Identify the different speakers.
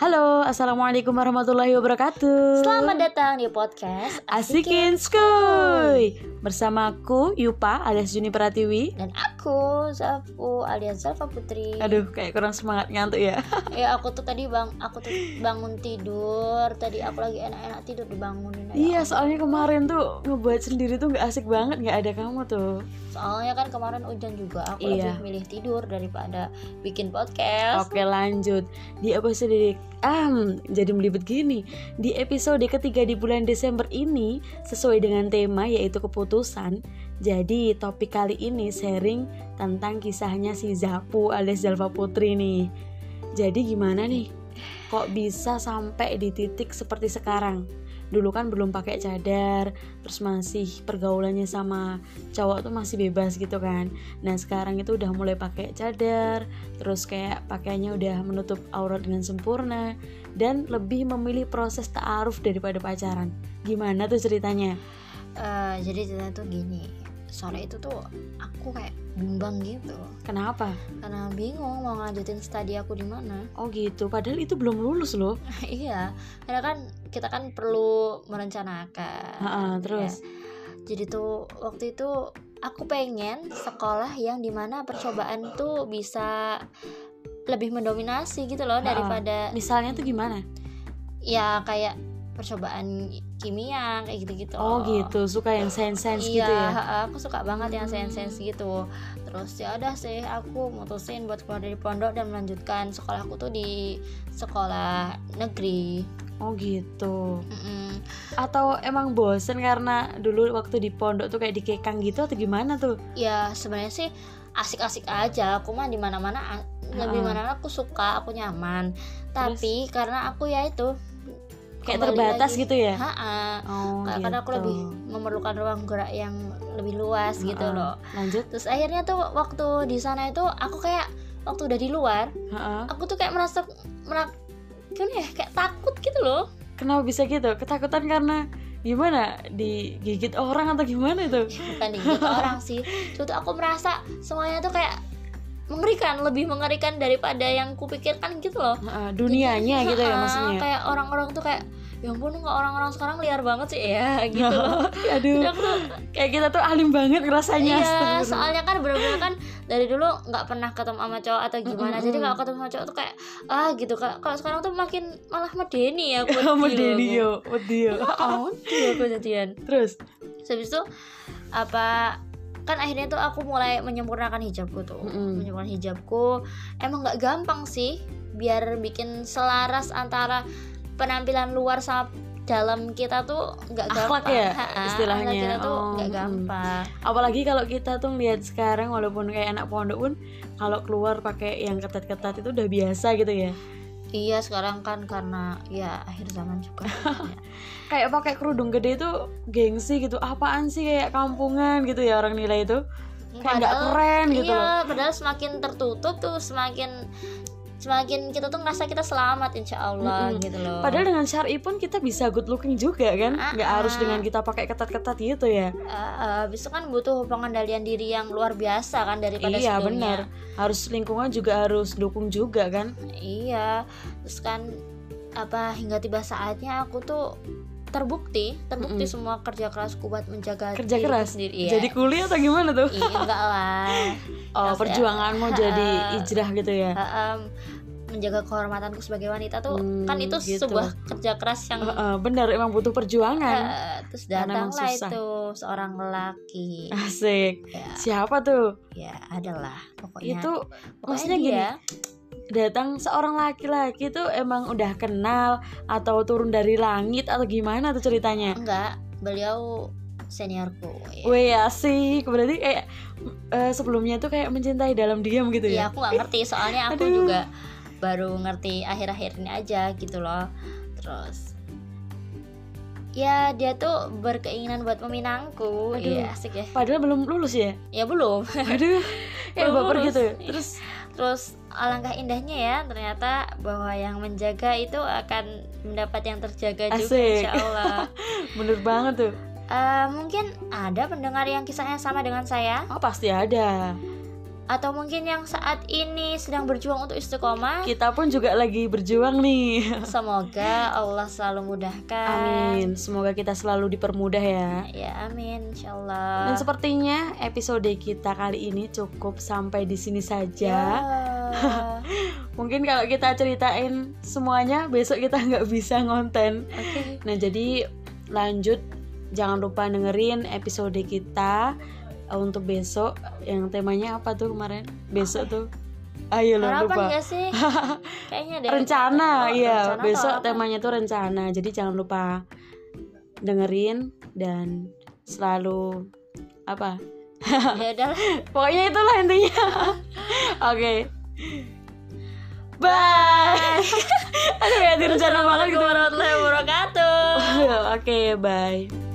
Speaker 1: Halo, Assalamualaikum warahmatullahi wabarakatuh
Speaker 2: Selamat datang di podcast
Speaker 1: Asikin Skuy Bersama aku, Yupa alias Juni Pratiwi
Speaker 2: dan aku Zafu alias Zalfa Putri.
Speaker 1: Aduh, kayak kurang semangat ngantuk ya
Speaker 2: Ya aku tuh tadi bang, aku tuh bangun tidur. Tadi aku lagi enak-enak tidur dibangunin. ya
Speaker 1: Iya,
Speaker 2: ampun.
Speaker 1: soalnya kemarin tuh ngebuat sendiri tuh gak asik banget gak ada kamu tuh
Speaker 2: Soalnya kan kemarin hujan juga. Aku
Speaker 1: Iya.
Speaker 2: lebih milih tidur daripada bikin podcast.
Speaker 1: Oke lanjut Di episode Am, jadi melibet gini Di episode ketiga di bulan Desember ini Sesuai dengan tema yaitu keputusan Jadi topik kali ini sharing tentang kisahnya si Zapu alias Zalfa Putri nih Jadi gimana nih? Kok bisa sampai di titik seperti sekarang? Dulu kan belum pakai cadar, terus masih pergaulannya sama cowok tuh masih bebas gitu kan. Nah sekarang itu udah mulai pakai cadar, terus kayak pakaiannya udah menutup aurat dengan sempurna dan lebih memilih proses ta'aruf daripada pacaran. Gimana tuh ceritanya?
Speaker 2: Eh, jadi ceritanya tuh gini. Sore itu tuh aku kayak bimbang gitu
Speaker 1: Kenapa?
Speaker 2: karena bingung mau ngelanjutin studi aku di mana.
Speaker 1: Oh gitu, padahal itu belum lulus loh.
Speaker 2: iya, karena kan kita kan perlu merencanakan.
Speaker 1: Ha-ha, terus?
Speaker 2: ya. Jadi tuh waktu itu aku pengen sekolah yang dimana percobaan tuh bisa lebih mendominasi gitu loh
Speaker 1: Ha-ha.
Speaker 2: daripada
Speaker 1: Misalnya tuh gimana?
Speaker 2: ya kayak percobaan kimia kayak gitu-gitu.
Speaker 1: Oh gitu, suka yang sains-sains
Speaker 2: Iya,
Speaker 1: gitu ya. Hmm.
Speaker 2: ha-ha, aku suka banget yang sains-sains gitu. Terus ya udah sih aku mutusin buat keluar dari pondok dan melanjutkan sekolahku tuh di sekolah negeri.
Speaker 1: Oh gitu.
Speaker 2: Mm-mm.
Speaker 1: Atau emang bosen karena dulu waktu di pondok tuh kayak dikekang gitu atau gimana tuh?
Speaker 2: ya sebenarnya sih asik-asik aja aku mah di mana-mana a- lebih
Speaker 1: Heeh.
Speaker 2: mana aku suka aku nyaman tapi karena aku ya itu
Speaker 1: Kayak terbatas gitu ya?
Speaker 2: ha
Speaker 1: Oh
Speaker 2: karena aku
Speaker 1: gitu.
Speaker 2: lebih memerlukan ruang gerak yang lebih luas gitu
Speaker 1: Ha-ha.
Speaker 2: loh
Speaker 1: Lanjut.
Speaker 2: terus akhirnya tuh waktu di sana itu aku kayak waktu udah di luar
Speaker 1: Ha-ha.
Speaker 2: aku tuh kayak merasa merak gimana ya kayak takut gitu loh
Speaker 1: Kenapa bisa gitu? Ketakutan karena gimana? Digigit orang atau gimana itu?
Speaker 2: bukan digigit orang sih Cuma tuh aku merasa semuanya tuh kayak mengerikan lebih mengerikan daripada yang kupikirkan gitu loh
Speaker 1: Heeh, dunianya gitu ya
Speaker 2: Ah,
Speaker 1: maksudnya
Speaker 2: kayak orang-orang tuh kayak ya ampun nggak orang-orang sekarang liar banget sih ya gitu
Speaker 1: aduh
Speaker 2: loh Jadi aku tuh,
Speaker 1: kayak kita tuh alim banget rasanya
Speaker 2: iya soalnya kan bener-bener kan dari dulu nggak pernah ketemu sama cowok atau gimana
Speaker 1: Mm-mm.
Speaker 2: jadi kalau ketemu sama cowok tuh kayak ah gitu Kalau- kalau sekarang tuh makin malah medeni ya aku
Speaker 1: sama
Speaker 2: Gila, aku.
Speaker 1: Denio Denio
Speaker 2: Oh, gila aku jadian
Speaker 1: terus
Speaker 2: Terus habis itu apa kan akhirnya tuh aku mulai menyempurnakan hijabku tuh
Speaker 1: Mm-mm.
Speaker 2: menyempurnakan hijabku emang nggak gampang sih biar bikin selaras antara penampilan luar sama dalam kita tuh nggak
Speaker 1: Akhlak
Speaker 2: gampang
Speaker 1: ya,
Speaker 2: Ha-ha,
Speaker 1: istilahnya.
Speaker 2: akhlak kita tuh
Speaker 1: Oh,
Speaker 2: nggak
Speaker 1: mm-mm.
Speaker 2: gampang
Speaker 1: apalagi kalau kita tuh ngeliat sekarang walaupun kayak anak pondok pun kalau keluar pakai yang ketat-ketat itu udah biasa gitu ya
Speaker 2: iya sekarang kan karena ya akhir zaman juga ya.
Speaker 1: kayak pakai kerudung gede itu gengsi gitu apaan sih kayak kampungan gitu ya orang nilai itu kayak nggak
Speaker 2: Padahal-
Speaker 1: keren gitu
Speaker 2: iya
Speaker 1: loh
Speaker 2: padahal semakin tertutup tuh semakin semakin kita tuh ngerasa kita selamat insya Allah
Speaker 1: Mm-mm.
Speaker 2: gitu loh
Speaker 1: Padahal dengan syari pun kita bisa good looking juga kan, nggak
Speaker 2: Ah,
Speaker 1: harus
Speaker 2: ah.
Speaker 1: dengan kita pakai ketat-ketat gitu ya.
Speaker 2: Uh, abis itu kan butuh pengendalian diri yang luar biasa kan daripada
Speaker 1: iya benar,
Speaker 2: sebelumnya
Speaker 1: harus lingkungan juga harus dukung juga kan.
Speaker 2: iya terus kan apa hingga tiba saatnya aku tuh terbukti terbukti
Speaker 1: Mm-mm.
Speaker 2: semua kerja kerasku buat menjaga
Speaker 1: Kerja
Speaker 2: diriku
Speaker 1: keras?
Speaker 2: sendiri iya.
Speaker 1: Jadi kuliah atau gimana tuh?
Speaker 2: Iya, enggak lah
Speaker 1: Oh,
Speaker 2: Maksudnya,
Speaker 1: perjuanganmu
Speaker 2: ha-ha.
Speaker 1: jadi hijrah gitu ya.
Speaker 2: Uh, um, menjaga kehormatanku sebagai wanita tuh
Speaker 1: Hmm,
Speaker 2: kan itu
Speaker 1: gitu.
Speaker 2: sebuah kerja keras yang
Speaker 1: Heeh, benar, emang butuh perjuangan.
Speaker 2: uh, terus
Speaker 1: Karena emang susah.
Speaker 2: datanglah
Speaker 1: Ah.
Speaker 2: itu seorang lelaki
Speaker 1: Asik.
Speaker 2: ya
Speaker 1: Siapa tuh?
Speaker 2: ya adalah pokoknya
Speaker 1: Itu
Speaker 2: pokoknya
Speaker 1: maksudnya
Speaker 2: dia,
Speaker 1: gini, datang seorang laki-laki tuh emang udah kenal atau turun dari langit atau gimana tuh ceritanya?
Speaker 2: enggak beliau seniorku ya.
Speaker 1: Weh asik, berarti kayak eh, sebelumnya tuh kayak mencintai dalam diam gitu
Speaker 2: Iya
Speaker 1: ya?
Speaker 2: aku nggak ngerti soalnya aku
Speaker 1: Aduh.
Speaker 2: juga baru ngerti akhir-akhir ini aja gitu loh terus ya dia tuh berkeinginan buat meminangku
Speaker 1: Aduh.
Speaker 2: Iya asik ya
Speaker 1: Padahal belum lulus ya?
Speaker 2: ya belum
Speaker 1: Aduh, kayak
Speaker 2: Belum
Speaker 1: baper
Speaker 2: lulus.
Speaker 1: gitu. Terus
Speaker 2: terus alangkah indahnya ya ternyata bahwa yang menjaga itu akan mendapat yang terjaga juga
Speaker 1: Asik.
Speaker 2: insya Allah
Speaker 1: bener banget tuh.
Speaker 2: Eh, mungkin ada pendengar yang kisahnya sama dengan saya
Speaker 1: Oh pasti ada.
Speaker 2: atau mungkin yang saat ini sedang berjuang untuk istiqomah
Speaker 1: Kita pun juga lagi berjuang nih.
Speaker 2: semoga Allah selalu mudahkan
Speaker 1: Amin. Semoga kita selalu dipermudah ya.
Speaker 2: ya
Speaker 1: Dan
Speaker 2: amin insyaallah
Speaker 1: sepertinya episode kita kali ini cukup sampai di sini
Speaker 2: Iya.
Speaker 1: saja.
Speaker 2: Ya.
Speaker 1: Mungkin kalau kita ceritain semuanya besok kita nggak bisa ngonten.
Speaker 2: oke
Speaker 1: Nah jadi lanjut jangan lupa dengerin episode kita eh, untuk besok yang temanya apa tuh kemarin? Besok tuh. Ayo lo
Speaker 2: harapan
Speaker 1: lupa.
Speaker 2: gak sih kayaknya deh
Speaker 1: Rencana
Speaker 2: Oh,
Speaker 1: ya.
Speaker 2: rencana
Speaker 1: Besok
Speaker 2: atau apa?
Speaker 1: temanya tuh rencana. Jadi jangan lupa dengerin dan selalu apa?
Speaker 2: ya udahlah
Speaker 1: Pokoknya itulah intinya. Oke. Bye. Aduh ya, rencana banget gitu. Iya,
Speaker 2: warahmatullahi wabarakatuh
Speaker 1: Oke, bye.